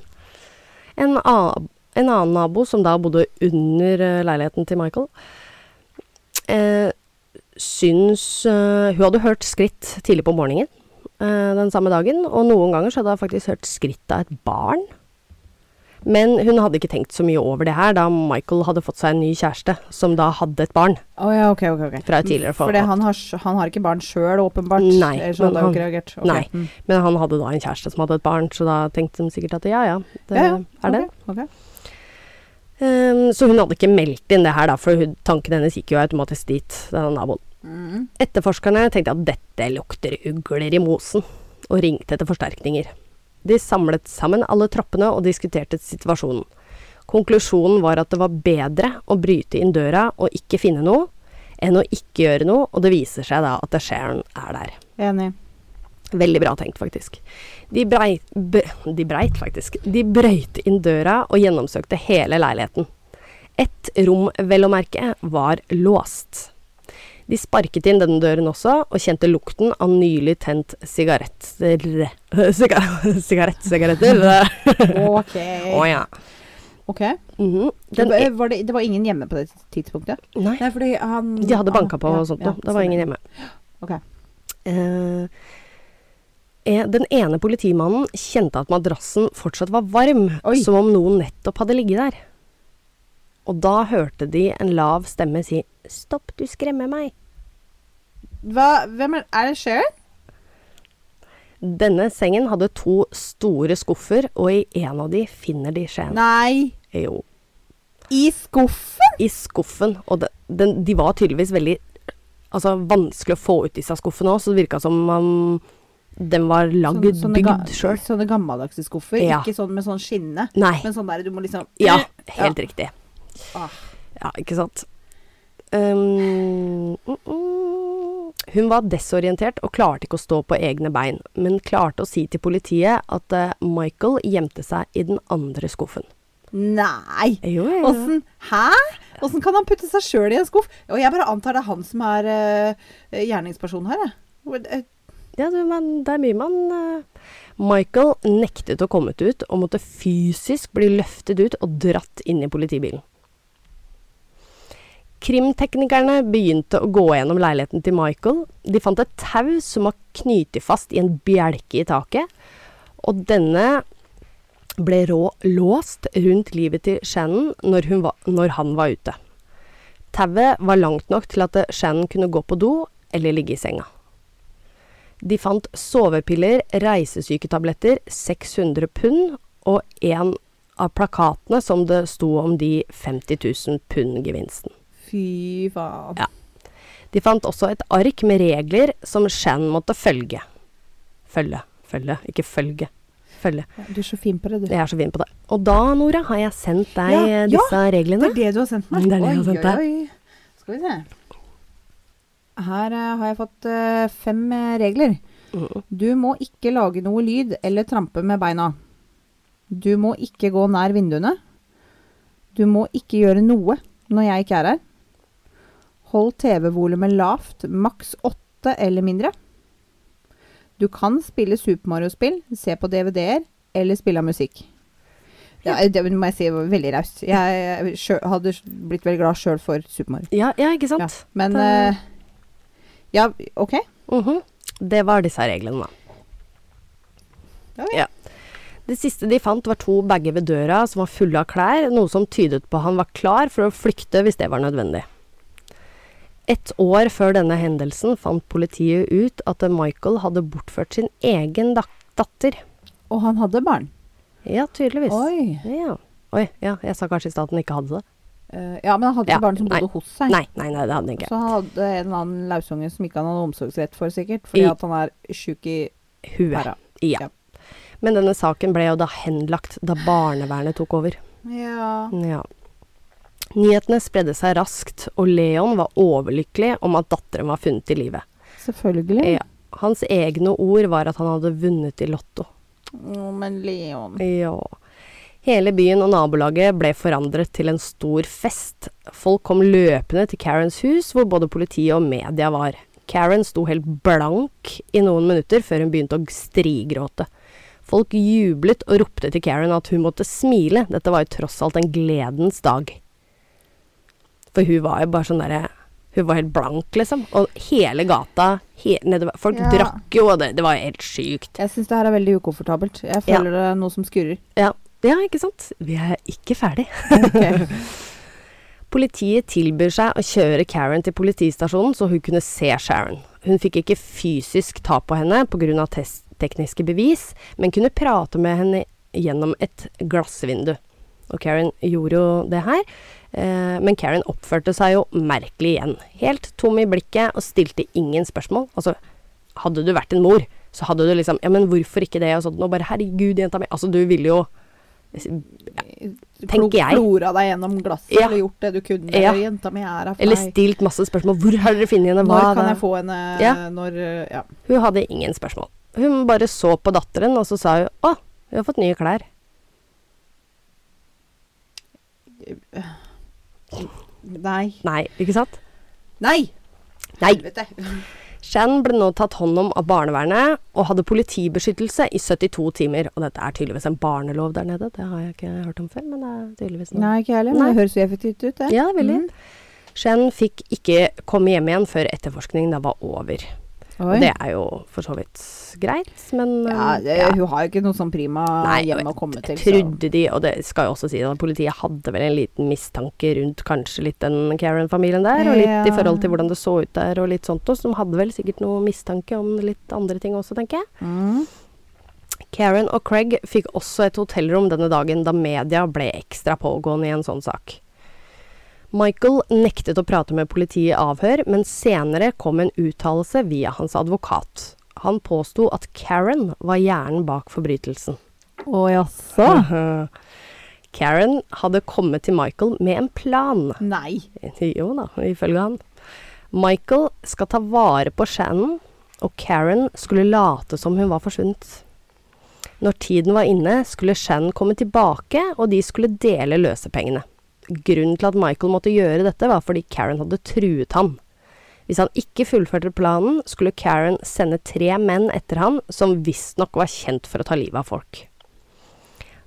En, a- en annen nabo, som da bodde under eh, leiligheten til Michael, eh, syns eh, Hun hadde hørt skritt tidlig på morgenen eh, den samme dagen, og noen ganger så hadde hun faktisk hørt skritt av et barn. Men hun hadde ikke tenkt så mye over det her da Michael hadde fått seg en ny kjæreste, som da hadde et barn.
Å ja, ok, ok. ok.
Fra et tidligere forhold.
For det, han, har, s- han har ikke barn sjøl, åpenbart.
Nei,
Ellers hadde
men
han jo ikke
han-
reagert. Ok.
nei.
Mm.
Men han hadde da en kjæreste som hadde et barn, så da tenkte de sikkert at ja, ja, det
Ja, ja,
er det.
ok, ok.
Ehm, så hun hadde ikke meldt inn det her, da, for hun, tanken hennes gikk jo automatisk dit, denne naboen.
Mm.
Etterforskerne tenkte at dette lukter ugler i mosen, og ringte etter forsterkninger. De samlet sammen alle troppene og diskuterte situasjonen. Konklusjonen var at det var bedre å bryte inn døra og ikke finne noe, enn å ikke gjøre noe, og det viser seg da at Sharon er der.
Enig.
Mm. Veldig bra tenkt, faktisk. De breit, b de breit faktisk. De brøyt inn døra og gjennomsøkte hele leiligheten. Ett rom, vel å merke, var låst. De sparket inn denne døren også, og kjente lukten av nylig tent sigaretter Siga- Sigarett, sigaretter.
Ok.
Å ja.
Ok.
Mhm.
Det,
Den
var-
e
var det, det var ingen hjemme på det tidspunktet?
Nei.
Nei, fordi han
De hadde banka på
ja,
og sånt
ja,
noe.
sånn
det var
stemmer.
ingen hjemme.
Ok.
Eh, eh, den ene politimannen kjente at madrassen fortsatt var varm,
Oi.
som om noen nettopp hadde ligget der. Og da hørte de en lav stemme si 'Stopp, du skremmer meg'.
Hva, hvem er, er det Sharon?
Denne sengen hadde to store skuffer, og i en av de finner de Shane.
Nei,
Jo,
i skuffen?
i skuffen. Og de, den, de var tydeligvis veldig altså, vanskelig å få ut disse skuffene òg, så det virka som om den var lagd,
ga-
bygd sjøl.
sånne gammeldagse skuffer.
Ja.
Ikke sånn med sånn skinne,
Nei.
men sånn der du må liksom
Ja, helt riktig.
Ah.
Ja, ikke sant. Um, mm, mm. Hun var desorientert og klarte ikke å stå på egne bein, men klarte å si til politiet at eh, Michael gjemte seg i den andre skuffen.
Nei!
Jo, jo, jo.
Åssen Hæ? Åssen kan han putte seg sjøl i en skuff? Og jeg bare antar det er han som er eh, gjerningspersonen her, jeg. Hvor- eh,
Ja, du, men det er mye man eh. Michael nektet å komme ut og måtte fysisk bli løftet ut og dratt inn i politibilen. Krimteknikerne begynte å gå gjennom leiligheten til Michael. De fant et tau som var knyttet fast i en bjelke i taket, og denne ble rå låst rundt livet til Shannon når, hun var, når han var ute. Tauet var langt nok til at eh, Shannon kunne gå på do eller ligge i senga. De fant sovepiller, reisesyketabletter, 600 pund og en av plakatene som det sto om de 50 000 pund-gevinsten.
Fy faen.
Ja. De fant også et ark med regler som Shan måtte følge. Følge, følge, ikke følge. Følge.
Du er så fin på det, du.
Jeg er så fin på det. Og da, Nora, har jeg sendt deg
Ja,
eh,
ja,
disse
Det
reglene.
er det du har sendt meg?
Det er det jeg har sendt deg.
oi, oi. Skal vi se. Her eh, har jeg fått eh, fem eh, regler.
Mhm.
Du må ikke lage noe lyd eller trampe med beina. Du må ikke gå nær vinduene. Du må ikke gjøre noe når jeg ikke er her. Hold TV-volumet lavt, maks åtte eller mindre. Du kan spille Super Mario-spill, se på DVD-er eller spille av musikk. Ja, det må jeg si var veldig raust. Jeg sjø- hadde blitt veldig glad sjøl for Super Mario.
Ja, ja, ikke
Ja,
sant?
men
Da-
eh, Ja, OK.
Mhm. Det var disse reglene, da.
Ja,
Ja. Det siste de fant, var to bager ved døra som var fulle av klær, noe som tydet på han var klar for å flykte hvis det var nødvendig. Et år før denne hendelsen fant politiet ut at Michael hadde bortført sin egen dak datter.
Og han hadde barn.
Ja, tydeligvis.
Oi.
Ja. Oi, ja, jeg sa kanskje i stad at den ikke hadde det.
Eh, ja, men han hadde
Ja,
ikke barn som
nei.
bodde hos seg.
Nei, nei, nei det hadde den ikke.
Så hadde en eller annen lausunge som ikke han hadde omsorgsrett for, sikkert. Fordi
I-
at han er sjuk i
Huet.
pæra.
Ja.
Ja.
Men denne saken ble jo da henlagt da barnevernet tok over.
Ja.
Ja. Nyhetene spredde seg raskt, og Leon var overlykkelig om at datteren var funnet i live.
Selvfølgelig.
Ja. Hans egne ord var at han hadde vunnet i Lotto.
Å, men Leon
Ja. Hele byen og nabolaget ble forandret til en stor fest. Folk kom løpende til Karens hus, hvor både politiet og media var. Karen sto helt blank i noen minutter før hun begynte å strigråte. Folk jublet og ropte til Karen at hun måtte smile, dette var jo tross alt en gledens dag. For hun var jo bare sånn derre Hun var helt blank, liksom. Og hele gata he, nedover, Folk
Ja.
drakk jo, og det, det var jo helt sykt.
Jeg syns det her er veldig ukomfortabelt. Jeg
Ja.
føler det er noe som skurrer.
Ja, ja ikke sant? Vi er ikke ferdig.
Ok.
Politiet tilbyr seg å kjøre Karen til politistasjonen så hun kunne se Sharon. Hun fikk ikke fysisk ta på henne pga. tekniske bevis, men kunne prate med henne gjennom et glassvindu. Og Karen gjorde jo det her, eh, men Karen oppførte seg jo merkelig igjen. Helt tom i blikket og stilte ingen spørsmål. Altså, hadde du vært en mor, så hadde du liksom Ja, men hvorfor ikke det? Og sånn, og bare herregud, jenta mi. Altså, du ville jo Tenker
Plo-
jeg.
Flora deg gjennom glasset
Ja.
eller gjort det du kunne.
Ja.
Eller jenta mi er her for
Eller
meg.
stilt masse spørsmål. Hvor har dere funnet henne?
Når kan
da?
jeg få henne
Ja.
når eh, Ja.
Hun hadde ingen spørsmål. Hun bare så på datteren, og så sa hun 'Å, hun har fått nye klær'.
Nei.
Nei, ikke sant?
Nei!
Nei!
Helvete.
Shan ble nå tatt hånd om av barnevernet og hadde politibeskyttelse i 72 timer. Og dette er tydeligvis en barnelov der nede, det har jeg ikke hørt om før, men det er tydeligvis noe.
Nei, ikke jeg heller. Men
Nei.
det høres jo effektivt ut, det.
Ja, veldig.
Mm.
Shan fikk ikke komme hjem igjen før etterforskningen da var over.
Oi.
Og det er jo for så vidt greit, men
ja,
um,
det,
ja.
Hun har jo ikke noe sånn prima
Nei, og
hjemme å komme til.
Jeg
så-
trodde de, og det skal jeg også si, at politiet hadde vel en liten mistanke rundt kanskje litt den Karen-familien der, og litt i
Ja.
forhold til hvordan det så ut der, og litt sånt, og så de hadde vel sikkert noe mistanke om litt andre ting også, tenker jeg.
Mm.
Karen og Craig fikk også et hotellrom denne dagen, da media ble ekstra pågående i en sånn sak. Michael nektet å prate med politiet i avhør, men senere kom en uttalelse via hans advokat. Han påsto at Karen var hjernen bak forbrytelsen.
Å jaså?
Karen hadde kommet til Michael med en plan.
Nei.
Jo da, ifølge han. Michael skal ta vare på Shannon, og Karen skulle late som hun var forsvunnet. Når tiden var inne, skulle Shannon komme tilbake, og de skulle dele løsepengene. Grunnen til at Michael måtte gjøre dette, var fordi Karen hadde truet ham. Hvis han ikke fullførte planen, skulle Karen sende tre menn etter han, som visstnok var kjent for å ta livet av folk.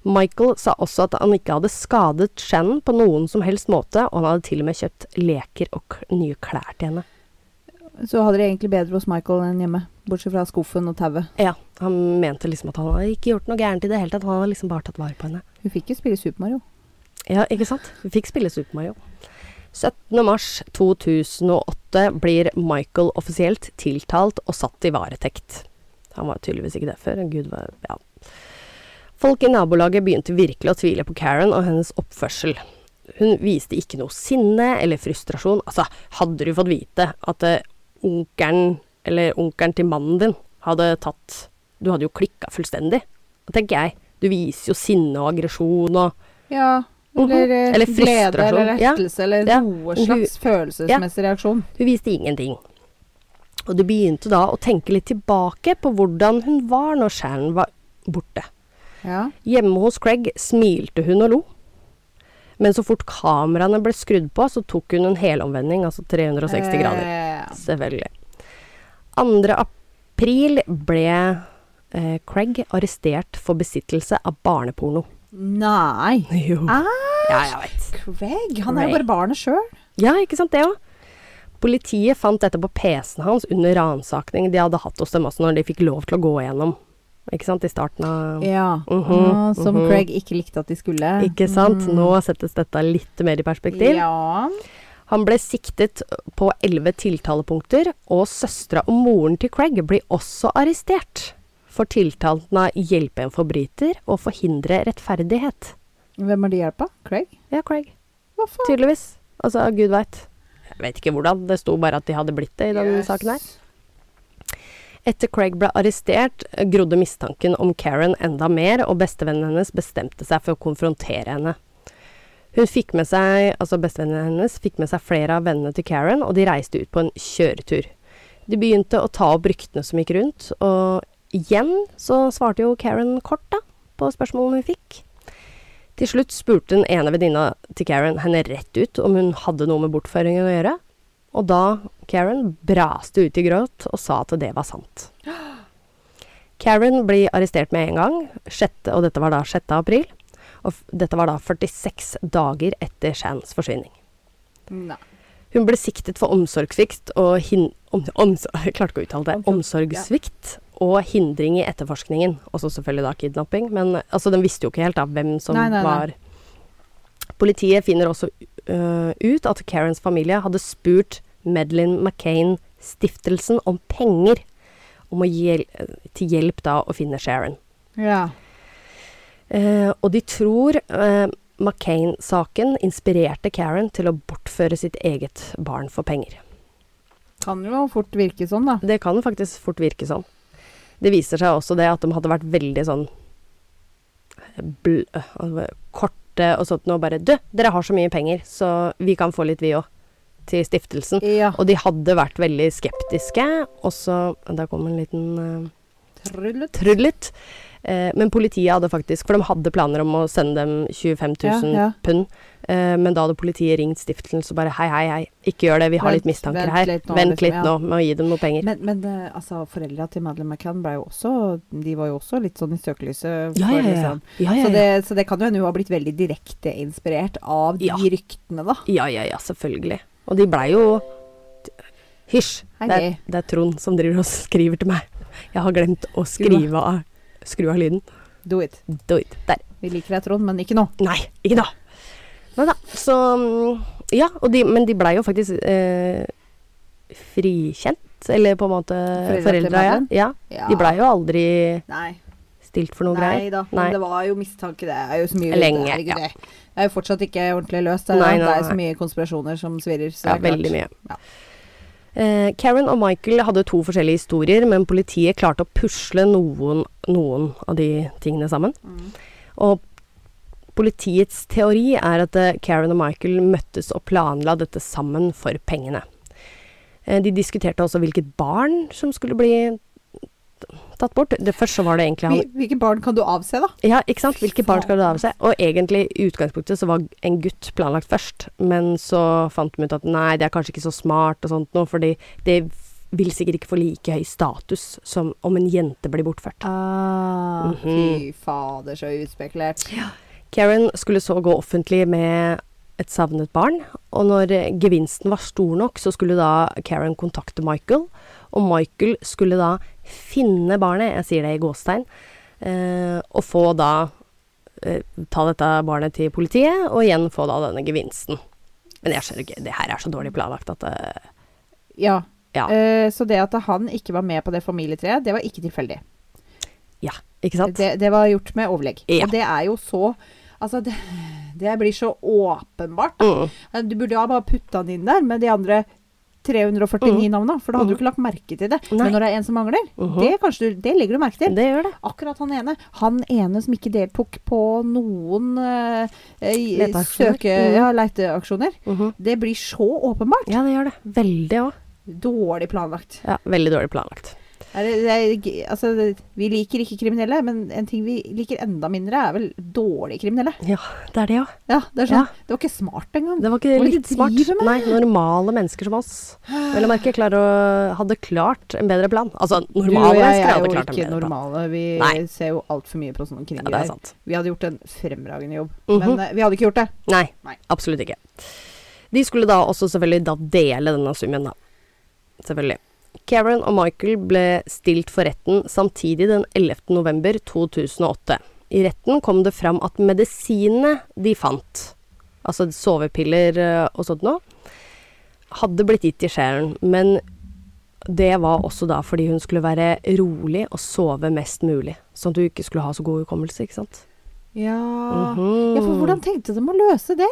Michael sa også at han ikke hadde skadet Shannon på noen som helst måte, og han hadde til og med kjøpt leker og k nye klær til henne.
Så hadde det egentlig bedre hos Michael enn hjemme. Bortsett fra skuffen og tauet.
Ja, han mente liksom at han hadde ikke gjort noe gærent i det hele tatt, han hadde liksom bare tatt vare på henne.
Hun fikk jo spille Super Mario.
Ja, ikke sant? Vi fikk spille Super Mario. 17. mars 2008 blir Michael offisielt tiltalt og satt i varetekt. Han var tydeligvis ikke det før. Gud var Ja. Folk i nabolaget begynte virkelig å tvile på Karen og hennes oppførsel. Hun viste ikke noe sinne eller frustrasjon. Altså, hadde du fått vite at eh, onkelen eller onkelen til mannen din hadde tatt Du hadde jo klikka fullstendig. Da tenker jeg. Du viser jo sinne og aggresjon og
Ja.
Mhm.
Eller, eh,
Eller
glede
frustrasjon.
eller
Ja.
rettelse eller
Ja.
noe slags følelsesmessig reaksjon.
Hun viste ingenting. Og du begynte da å tenke litt tilbake på hvordan hun var når Shannon var borte.
Ja.
Hjemme hos Craig smilte hun og lo. Men så fort kameraene ble skrudd på, så tok hun en helomvending, altså 360 grader.
Eh,
Selvfølgelig. 2. april ble eh, Craig arrestert for besittelse av barneporno.
nei.
Jo. Ja, jeg vet.
Craig, han er jo
Craig.
bare barnet sjøl.
Ja, ikke sant det òg. Politiet fant dette på PC-en hans under ransaking de hadde hatt hos dem også når de fikk lov til å gå igjennom. Ikke sant, i starten av
Ja.
Mhm,
ah, som
mhm.
Craig ikke likte at de skulle.
Ikke sant? Nå settes dette litt mer i perspektiv.
Ja.
Han ble siktet på elleve tiltalepunkter, og søstera og moren til Craig blir også arrestert for tiltalten av 'hjelpe en forbryter' og 'forhindre rettferdighet'.
Hvem har de hjelpa? Craig?
Ja, Craig.
Hva faen?
Tydeligvis. Altså, gud veit. Jeg vet ikke hvordan. Det sto bare at de hadde blitt det i denne
Yes.
saken her. Etter Craig ble arrestert, grodde mistanken om Karen enda mer, og bestevennen hennes bestemte seg for å konfrontere henne. Hun fikk med seg, altså Bestevennen hennes fikk med seg flere av vennene til Karen, og de reiste ut på en kjøretur. De begynte å ta opp ryktene som gikk rundt, og igjen så svarte jo Karen kort da, på spørsmålene hun fikk. Til slutt spurte den ene venninna til Karen henne rett ut om hun hadde noe med bortføringen å gjøre, og da Karen braste ut i gråt og sa at det var sant. Karen blir arrestert med en gang, sjette, og dette var da 6. april. Og f dette var da 46 dager etter Shans forsvinning.
Nei.
Hun ble siktet for omsorgssvikt og hin om omsor- jeg klarte ikke å uttale det.
Omsorg, ja.
Omsorgssvikt og hindring i etterforskningen. Også selvfølgelig da kidnapping. Men altså, den visste jo ikke helt da hvem som
Nei, nei, nei.
var Politiet finner også øh, ut at Karens familie hadde spurt Madeleine McCain-stiftelsen om penger om å gi, til hjelp da å finne Sharon.
Ja.
Eh, og de tror eh, McCain-saken inspirerte Karen til å bortføre sitt eget barn for penger.
Kan jo fort virke sånn, da.
Det kan faktisk fort virke sånn. Det viser seg også det at de hadde vært veldig sånn eh, bl øh, korte og sånt og bare Du, dere har så mye penger, så vi kan få litt, vi òg. Til stiftelsen.
Ja.
Og de hadde vært veldig skeptiske. Og så Der kom en liten eh,
Trullet.
tryllet. Eh, men politiet hadde faktisk For de hadde planer om å sende dem 25 000
Ja, ja.
pund. Eh, men da hadde politiet ringt stiftelsen så bare hei, hei, hei, ikke gjør det, vi har
Vent-
litt mistanker
vent
her.
litt nå,
vent
liksom,
litt
ja.
nå med å gi dem noe penger.
Men, men eh, altså, foreldra til Madeleine McCann ble jo også De var jo også litt sånn i søkelyset.
Ja,
for
ja, ja.
liksom-
ja, ja,
Så,
ja.
det, så det kan jo hende hun har blitt veldig direkte inspirert av de
Ja.
ryktene, da.
ja, ja, ja, selvfølgelig. Og de blei jo Hysj,
Hei,
det, er-
hei.
det er Trond som driver og skriver til meg. Jeg har glemt å skrive av Skru av lyden.
Do it.
Doi, Der.
Vi liker deg, Trond, men ikke nå.
Nei, ikke da. Nei da. Så mm, Ja, og de, men de blei jo faktisk eh, frikjent. Eller på en måte
Foreldra til
foreldra, ja.
Madeleine?
ja.
Ja.
De blei jo aldri
Nei.
stilt for noe
Nei
greier.
da,
Nei.
men det var jo mistanke. Det er jo så mye
Lenge,
det er ikke
ja.
det. Det er jo fortsatt ikke ordentlig løst. Det er,
Nei, nei,
det er jo så
nei.
mye konspirasjoner som svirrer. Så
Ja,
det er klart.
veldig mye.
Ja.
Eh, Karen og Michael hadde to forskjellige historier, men politiet klarte å pusle noen, noen av de tingene sammen.
Mm.
Og politiets teori er at eh, Karen og Michael møttes og planla dette sammen for pengene. Eh, De diskuterte også hvilket barn som skulle bli tatt bort. Det første var det egentlig han
Hvil- Hvilke barn kan du avse, da?
Ja, ikke sant? Hvilke barn skal du ha
faen.
med seg? Og egentlig i utgangspunktet så var en gutt planlagt først, men så fant de ut at nei, det er kanskje ikke så smart og sånt noe, fordi det vil sikkert ikke få like høy status som om en jente blir bortført.
Ah,
Mhm.
Fy fader, så utspekulert.
Karen skulle så gå offentlig med et savnet barn, og når eh, gevinsten var stor nok, så skulle da Karen kontakte Michael, og Michael skulle da finne barnet, jeg sier det i gåstegn, eh, og få da eh, ta dette barnet til politiet, og igjen få da denne gevinsten. Men jeg skjønner ikke, det her er så dårlig planlagt at eh,
Ja.
Ja.
Eh, så det at han ikke var med på det familietreet, det var ikke tilfeldig.
Ikke sant?
Det, det var gjort med overlegg.
Ja.
Og det er jo så Altså, det, det blir så åpenbart. Eh,
Mm.
Du burde ha bare putta den inn der med de andre 349 navna, for da hadde du
Mhm.
ikke lagt merke til det.
Mm. Nei.
Men når det er en som mangler,
Mhm.
det, kanskje du, det legger du merke til.
Det gjør det.
Akkurat han ene. Han ene som ikke deltok på noen eh, i-
Leteaksjoner.
søke,
Mhm.
ja, leteaksjoner.
Mhm.
Det blir så åpenbart.
Ja, det gjør det. Veldig òg.
Dårlig planlagt.
Ja, veldig dårlig planlagt.
Er det, det er, g- altså, det- vi liker ikke kriminelle, men en ting vi liker enda mindre, er vel dårlige kriminelle.
Ja, det er det òg.
Ja, Det er
Ja.
sånn, det var ikke smart engang.
Det var ikke
Hva
litt
de
smart.
driver med?
Nei, normale mennesker som oss. Vel å merke klarer å hadde klart en bedre plan. Altså,
du og
normale
jeg
mennesker
er
hadde
jo
klart en
ikke
bedre plan.
normale. Vi
Nei.
ser jo altfor mye på sånne
Ja, det er
krimgreier.
sant.
vi hadde gjort en fremragende jobb,
Mhm.
men eh, vi hadde ikke gjort det.
Nei,
Nei.
absolutt ikke. De skulle da også selvfølgelig da dele denne summen, da. Selvfølgelig. Karen og Michael ble stilt for retten samtidig den 11. november 2008. I retten kom det fram at medisinene de fant, altså sovepiller eh, og sånt noe, hadde blitt gitt til Sharon, men det var også da fordi hun skulle være rolig og sove mest mulig. Sånn at du ikke skulle ha så god hukommelse, ikke sant.
Ja.
Mhm.
ja, for hvordan tenkte de å løse det?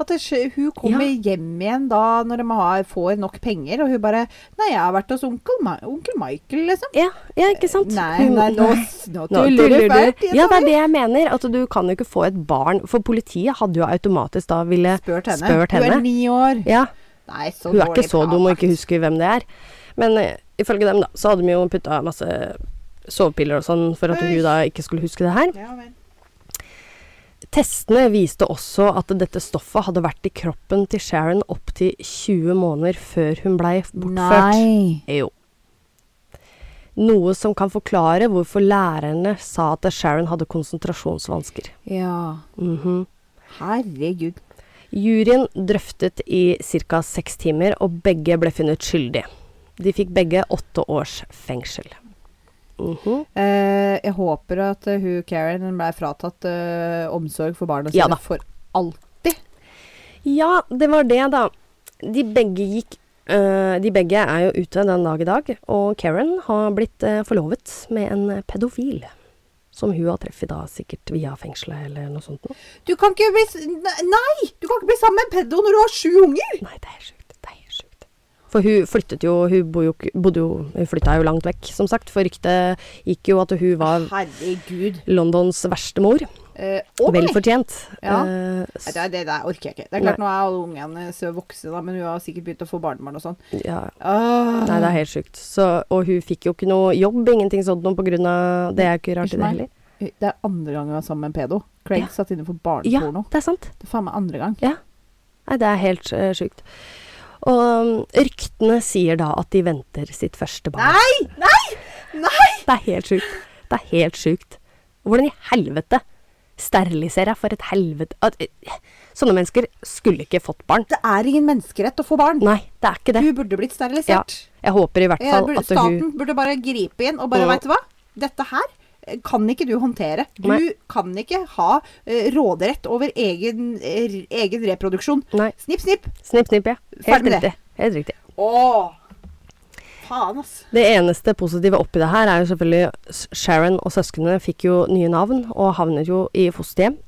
At det, skj- hun kommer hjem igjen da når de har, får nok penger, og hun bare 'Nei, jeg har vært hos onkel, Ma onkel Michael', liksom.
Ja, ja, ikke sant.
Nei,
Hun-
nei, nå,
Nå
nå tuller du fælt.
Ja, det er det jeg mener. At du kan jo ikke få et barn For politiet hadde jo automatisk da ville
Spurt henne.
Spurt
Du
henne.
er ni år.
Ja,
Nei, så
hun er
dårlig
ikke så dum og ikke husker hvem det er. Men eh, ifølge dem, da, så hadde de jo putta masse sovepiller og sånn for at
Øy.
hun da ikke skulle huske det her.
planlagt. Ja, vel.
Testene viste også at dette stoffet hadde vært i kroppen til Sharon opptil 20 måneder før hun blei bortført.
Nei.
Jo. Noe som kan forklare hvorfor lærerne sa at Sharon hadde konsentrasjonsvansker.
Ja.
Mhm.
Herregud.
Juryen drøftet i ca. seks timer, og begge ble funnet skyldige. De fikk begge åtte års fengsel. Mhm.
Eh, jeg håper at eh, hun Karen ble fratatt eh, omsorg for barna
Ja
sine
da.
for alltid.
Ja, det var det, da. De begge gikk øh, De begge er jo ute den dag i dag, og Karen har blitt øh, forlovet med en pedofil. Som hun har treffet da sikkert via fengselet eller noe sånt. noe.
Du kan ikke bli s- ne- Nei! Du kan ikke bli sammen med en pedo når du har sju unger!
Nei, det er sjukt. Det er helt sjukt. For hun flyttet jo Hun bodde jo, ikke- bodde jo Hun flytta jo langt vekk, som sagt. For ryktet gikk jo at hun var
Herregud.
Londons verste mor.
Eh, å, nei.
Vel fortjent.
Ja.
Eh,
Nei, Det, det der orker jeg ikke. Det er klart, Nå er alle ungene så voksne, da, men hun har sikkert begynt å få barnebarn og sånn.
s- ja.
Ah.
Nei, det er helt sjukt. Så, og hun fikk jo ikke noe jobb, ingenting sånt noe på grunn av Det er ikke rart i
Unnskyld
det
meg.
heller.
Det er andre gang jeg var sammen med en pedo. Craig
Ja.
satt inne for
Ja,
barneporno.
det er sant.
Det er faen meg andre gang.
Ja. Nei, det er helt eh, sjukt. Og um, ryktene sier da at de venter sitt første barn.
Nei! Nei! Nei!
Det er helt sjukt. Det er helt sjukt. Hvordan i helvete steriliserer jeg for et helvete at, eh, Sånne mennesker skulle ikke fått barn.
Det er ingen menneskerett å få barn.
Nei, det er ikke det.
Hun burde blitt sterilisert.
Jeg håper i hvert
Eh,
fall
burde,
at hun
staten burde bare gripe inn og bare
Mm.
Vet du hva? Dette her eh, kan ikke du håndtere. Du
Nei.
kan ikke ha eh, råderett over egen, eh, egen reproduksjon.
Nei.
Snipp, snipp.
Snipp, snipp, ja. Helt
Ferdig med det.
riktig. Helt riktig.
Åh. Faen, ass.
Det eneste positive oppi det her er jo selvfølgelig S- Sharon og søsknene fikk jo nye navn og havnet jo i fosterhjem.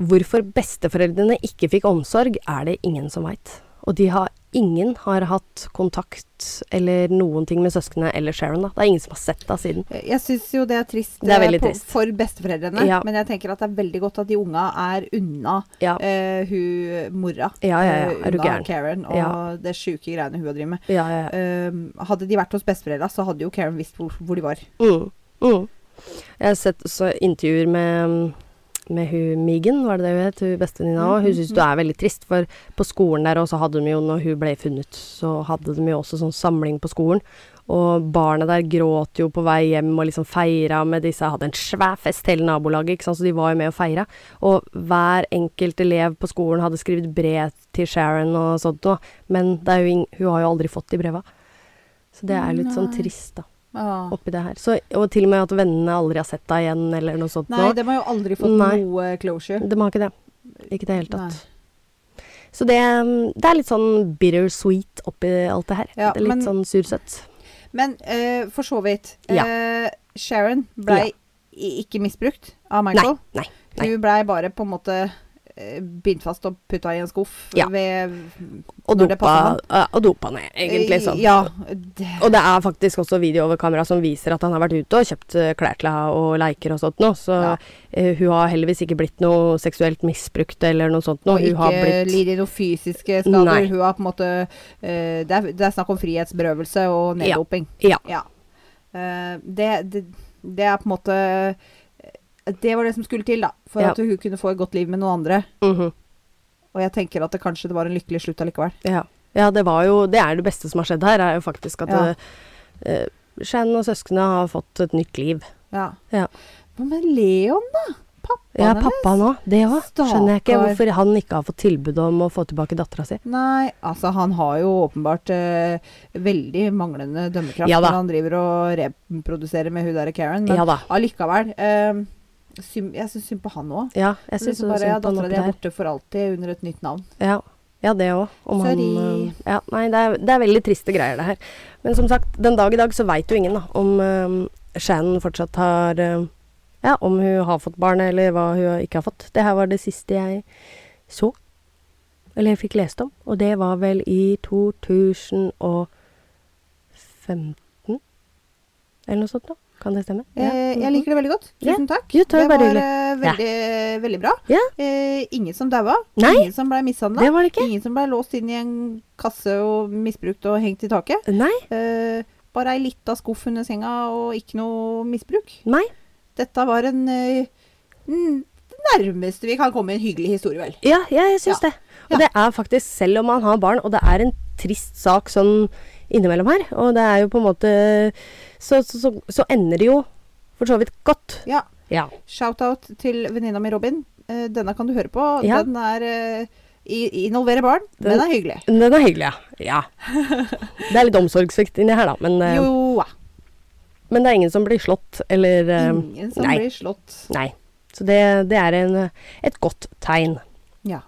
Hvorfor besteforeldrene ikke fikk omsorg, er det ingen som veit. Og de har, ingen har hatt kontakt eller noen ting med søsknene eller Sharon. da. Det er ingen som har sett henne siden.
Eh, Jeg syns jo det er trist,
Det er
eh,
veldig
på-
trist.
for besteforeldrene,
Ja.
men jeg tenker at det er veldig godt at de unga er unna
Ja.
eh, hun mora.
Ja, ja, ja.
eh,
Er du
unna
gæren?
Karen og
Ja.
det sjuke greiene hun har drevet med.
Ja, ja, ja.
Um, hadde de vært hos besteforeldra, så hadde jo Karen visst hvor, hvor de var.
Mm, mm. Jeg har sett også intervjuer med, mm, med hun Megan, var det det hun het, hun bestevenninna òg. Hun syns det er veldig trist, for på skolen der også hadde de jo, når hun ble funnet, så hadde de jo også sånn samling på skolen. Og barna der gråt jo på vei hjem og liksom feira med disse. Hadde en svær fest hele nabolaget, ikke sant? så de var jo med og feira. Og hver enkelt elev på skolen hadde skrevet brev til Sharon og sånt noe. Men det er jo ing hun har jo aldri fått de breva. Så det er litt sånn
Nei.
trist, da
Ah.
oppi det her. Så, og til og med at vennene aldri har sett deg igjen, eller noe sånt.
Nei,
nå.
de har jo aldri fått
Nei.
noe closure.
De har ikke det. Ikke i det hele tatt. Så det, det er litt sånn bittersweet oppi alt det her.
Ja,
det er litt
men-
sånn sursøtt.
Men eh, for så vidt
Ja.
eh, Sharon blei
Ja.
i- ikke misbrukt av
Nei,
Michael.
nei, nei.
Hun blei bare på en måte eh, bindt fast og putta i en skuff
Ja.
ved
Og
Når det
dopa,
passer
ja, og dopa ned, egentlig. sånn.
Ja. Det,
Og det er faktisk også video over kamera som viser at han har vært ute og kjøpt eh, klær til henne og leker og sånt nå. Så
Ja.
eh, hun har heldigvis ikke blitt noe seksuelt misbrukt eller noe sånt nå.
og
Hun
ikke
har blitt
lider noen fysiske skader.
Nei.
Hun har på en måte eh, det, er, det er snakk om frihetsberøvelse og
Ja.
neddoping.
Ja.
Eh, det, det, det er på en måte eh, Det var det som skulle til, da. For
Ja.
at hun kunne få et godt liv med noen andre.
Mhm.
Og jeg tenker at det kanskje det var en lykkelig slutt allikevel.
Ja, ja det, var jo, det er det beste som har skjedd her, er jo faktisk at
Ja.
eh, Shan og søsknene har fått et nytt liv.
Ja.
Ja.
Hva med Leon, da? Pappaen
Ja,
hennes?
pappa nå, det òg. Skjønner jeg ikke
Stakkar.
hvorfor han ikke har fått tilbud om å få tilbake dattera si.
Nei, altså han har jo åpenbart eh, veldig manglende dømmekraft
Ja da.
når han driver og reproduserer med hun derre Karen, men
Ja da.
allikevel eh, syn- Jeg syns synd på han òg.
Ja, jeg syns
Liksom bare ja,
synd på han
dattera
oppi
di er
der.
borte for alltid under et nytt navn.
Ja. Ja, det òg. Om han,
Sorry.
eh, ja, nei, det er, det er veldig triste greier, det her. Men som sagt, den dag i dag så veit jo ingen da, om eh, Shannon fortsatt har eh, Ja, om hun har fått barn, eller hva hun ikke har fått. Det her var det siste jeg så. Eller jeg fikk lest om. Og det var vel i 2015? Eller noe sånt noe. Kan det stemme?
Eh, jeg liker det veldig godt.
Mhm. Ja.
Tusen takk.
Jo, det var
det var
hyggelig.
eh, veldig, veldig bra.
Ja.
Eh, ingen som daua.
Nei.
Ingen som ble mishandla.
Det var det ikke.
Ingen som ble låst inn i en kasse og misbrukt og hengt i taket.
Nei.
Eh, bare ei lita skuff under senga og ikke noe misbruk.
Nei.
Dette var en eh, n- nærmeste vi kan komme en hyggelig historie, vel.
Ja, ja jeg syns
Ja.
det. Og
Ja.
det er faktisk, selv om man har barn, og det er en trist sak sånn innimellom her, og det er jo på en måte Så, så, så, så ender det jo for så vidt godt.
Ja.
Ja.
Shout-out til venninna mi Robin. Eh, denne kan du høre på.
Ja.
Den er eh, i- involverer barn. Den,
Den-
er hyggelig.
Den er hyggelig, ja. ja. Det er litt omsorgssvikt inni her, da, men, eh,
Jo,
men det er ingen som blir slått, eller eh,
ingen som
nei.
blir slått.
Nei. Så det, det er en, et godt tegn.
Ja.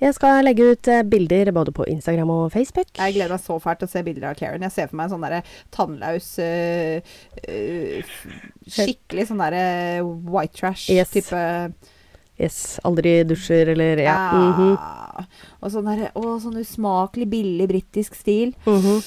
Jeg skal legge ut eh, bilder både på Instagram og Facebook.
Jeg gleder meg så fælt til å se bilder av Karen. Jeg ser for meg en sånn derre tannlaus øh, øh, f- Skikkelig sånn derre white
Yes.
trash-type.
Yes. Aldri dusjer, eller ja.
Ah.
mhm,
Og sånn derre Å, sånn usmakelig billig britisk stil.
mhm.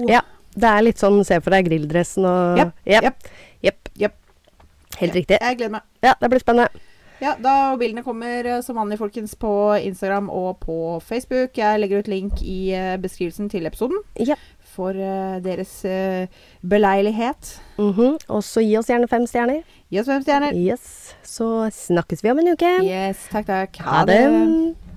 Åh.
Ja. Det er litt sånn se for deg grilldressen og
Jepp,
Jepp.
jepp.
Jepp.
Jepp.
Ah, Helt riktig.
Jeg gleder meg.
Ja, det blir spennende.
Ja, da og bildene kommer eh, som vanlig, folkens, på Instagram og på Facebook. Jeg legger ut link i eh, beskrivelsen til episoden
Ja.
for eh, deres eh, beleilighet.
Mhm. Og så gi oss gjerne fem stjerner.
Gi oss fem stjerner.
Yes. Så snakkes vi om en uke.
Yes, takk, takk.
Ha det.